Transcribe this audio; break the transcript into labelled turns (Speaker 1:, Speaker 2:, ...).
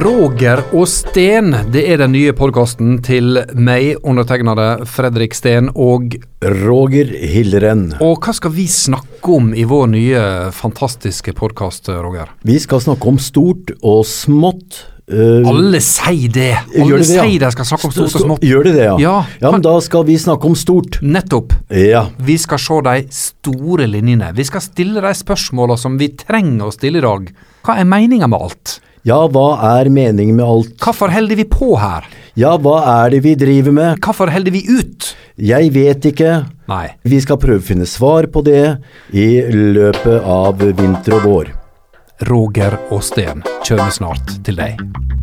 Speaker 1: Roger og Sten, det er den nye podkasten til meg, undertegnede Fredrik Steen. Og,
Speaker 2: Roger Hilleren.
Speaker 1: og hva skal vi snakke om i vår nye fantastiske podkast, Roger?
Speaker 2: Vi skal snakke om stort og smått. Eh,
Speaker 1: Alle sier det!
Speaker 2: gjør
Speaker 1: Alle
Speaker 2: det det, ja?
Speaker 1: sier de skal snakke om stort og smått.
Speaker 2: Gjør det det, ja?
Speaker 1: Ja.
Speaker 2: men da skal vi snakke om stort.
Speaker 1: Nettopp.
Speaker 2: Ja.
Speaker 1: Vi skal se de store linjene. Vi skal stille de spørsmåla som vi trenger å stille i dag. Hva er meninga med alt?
Speaker 2: ja, hva er meningen med alt?
Speaker 1: Hvorfor holder vi på her?
Speaker 2: Ja, hva er det vi driver med?
Speaker 1: Hvorfor holder vi ut?
Speaker 2: Jeg vet ikke.
Speaker 1: Nei.
Speaker 2: Vi skal prøve å finne svar på det i løpet av vinter og vår.
Speaker 1: Roger og Sten kommer snart til deg.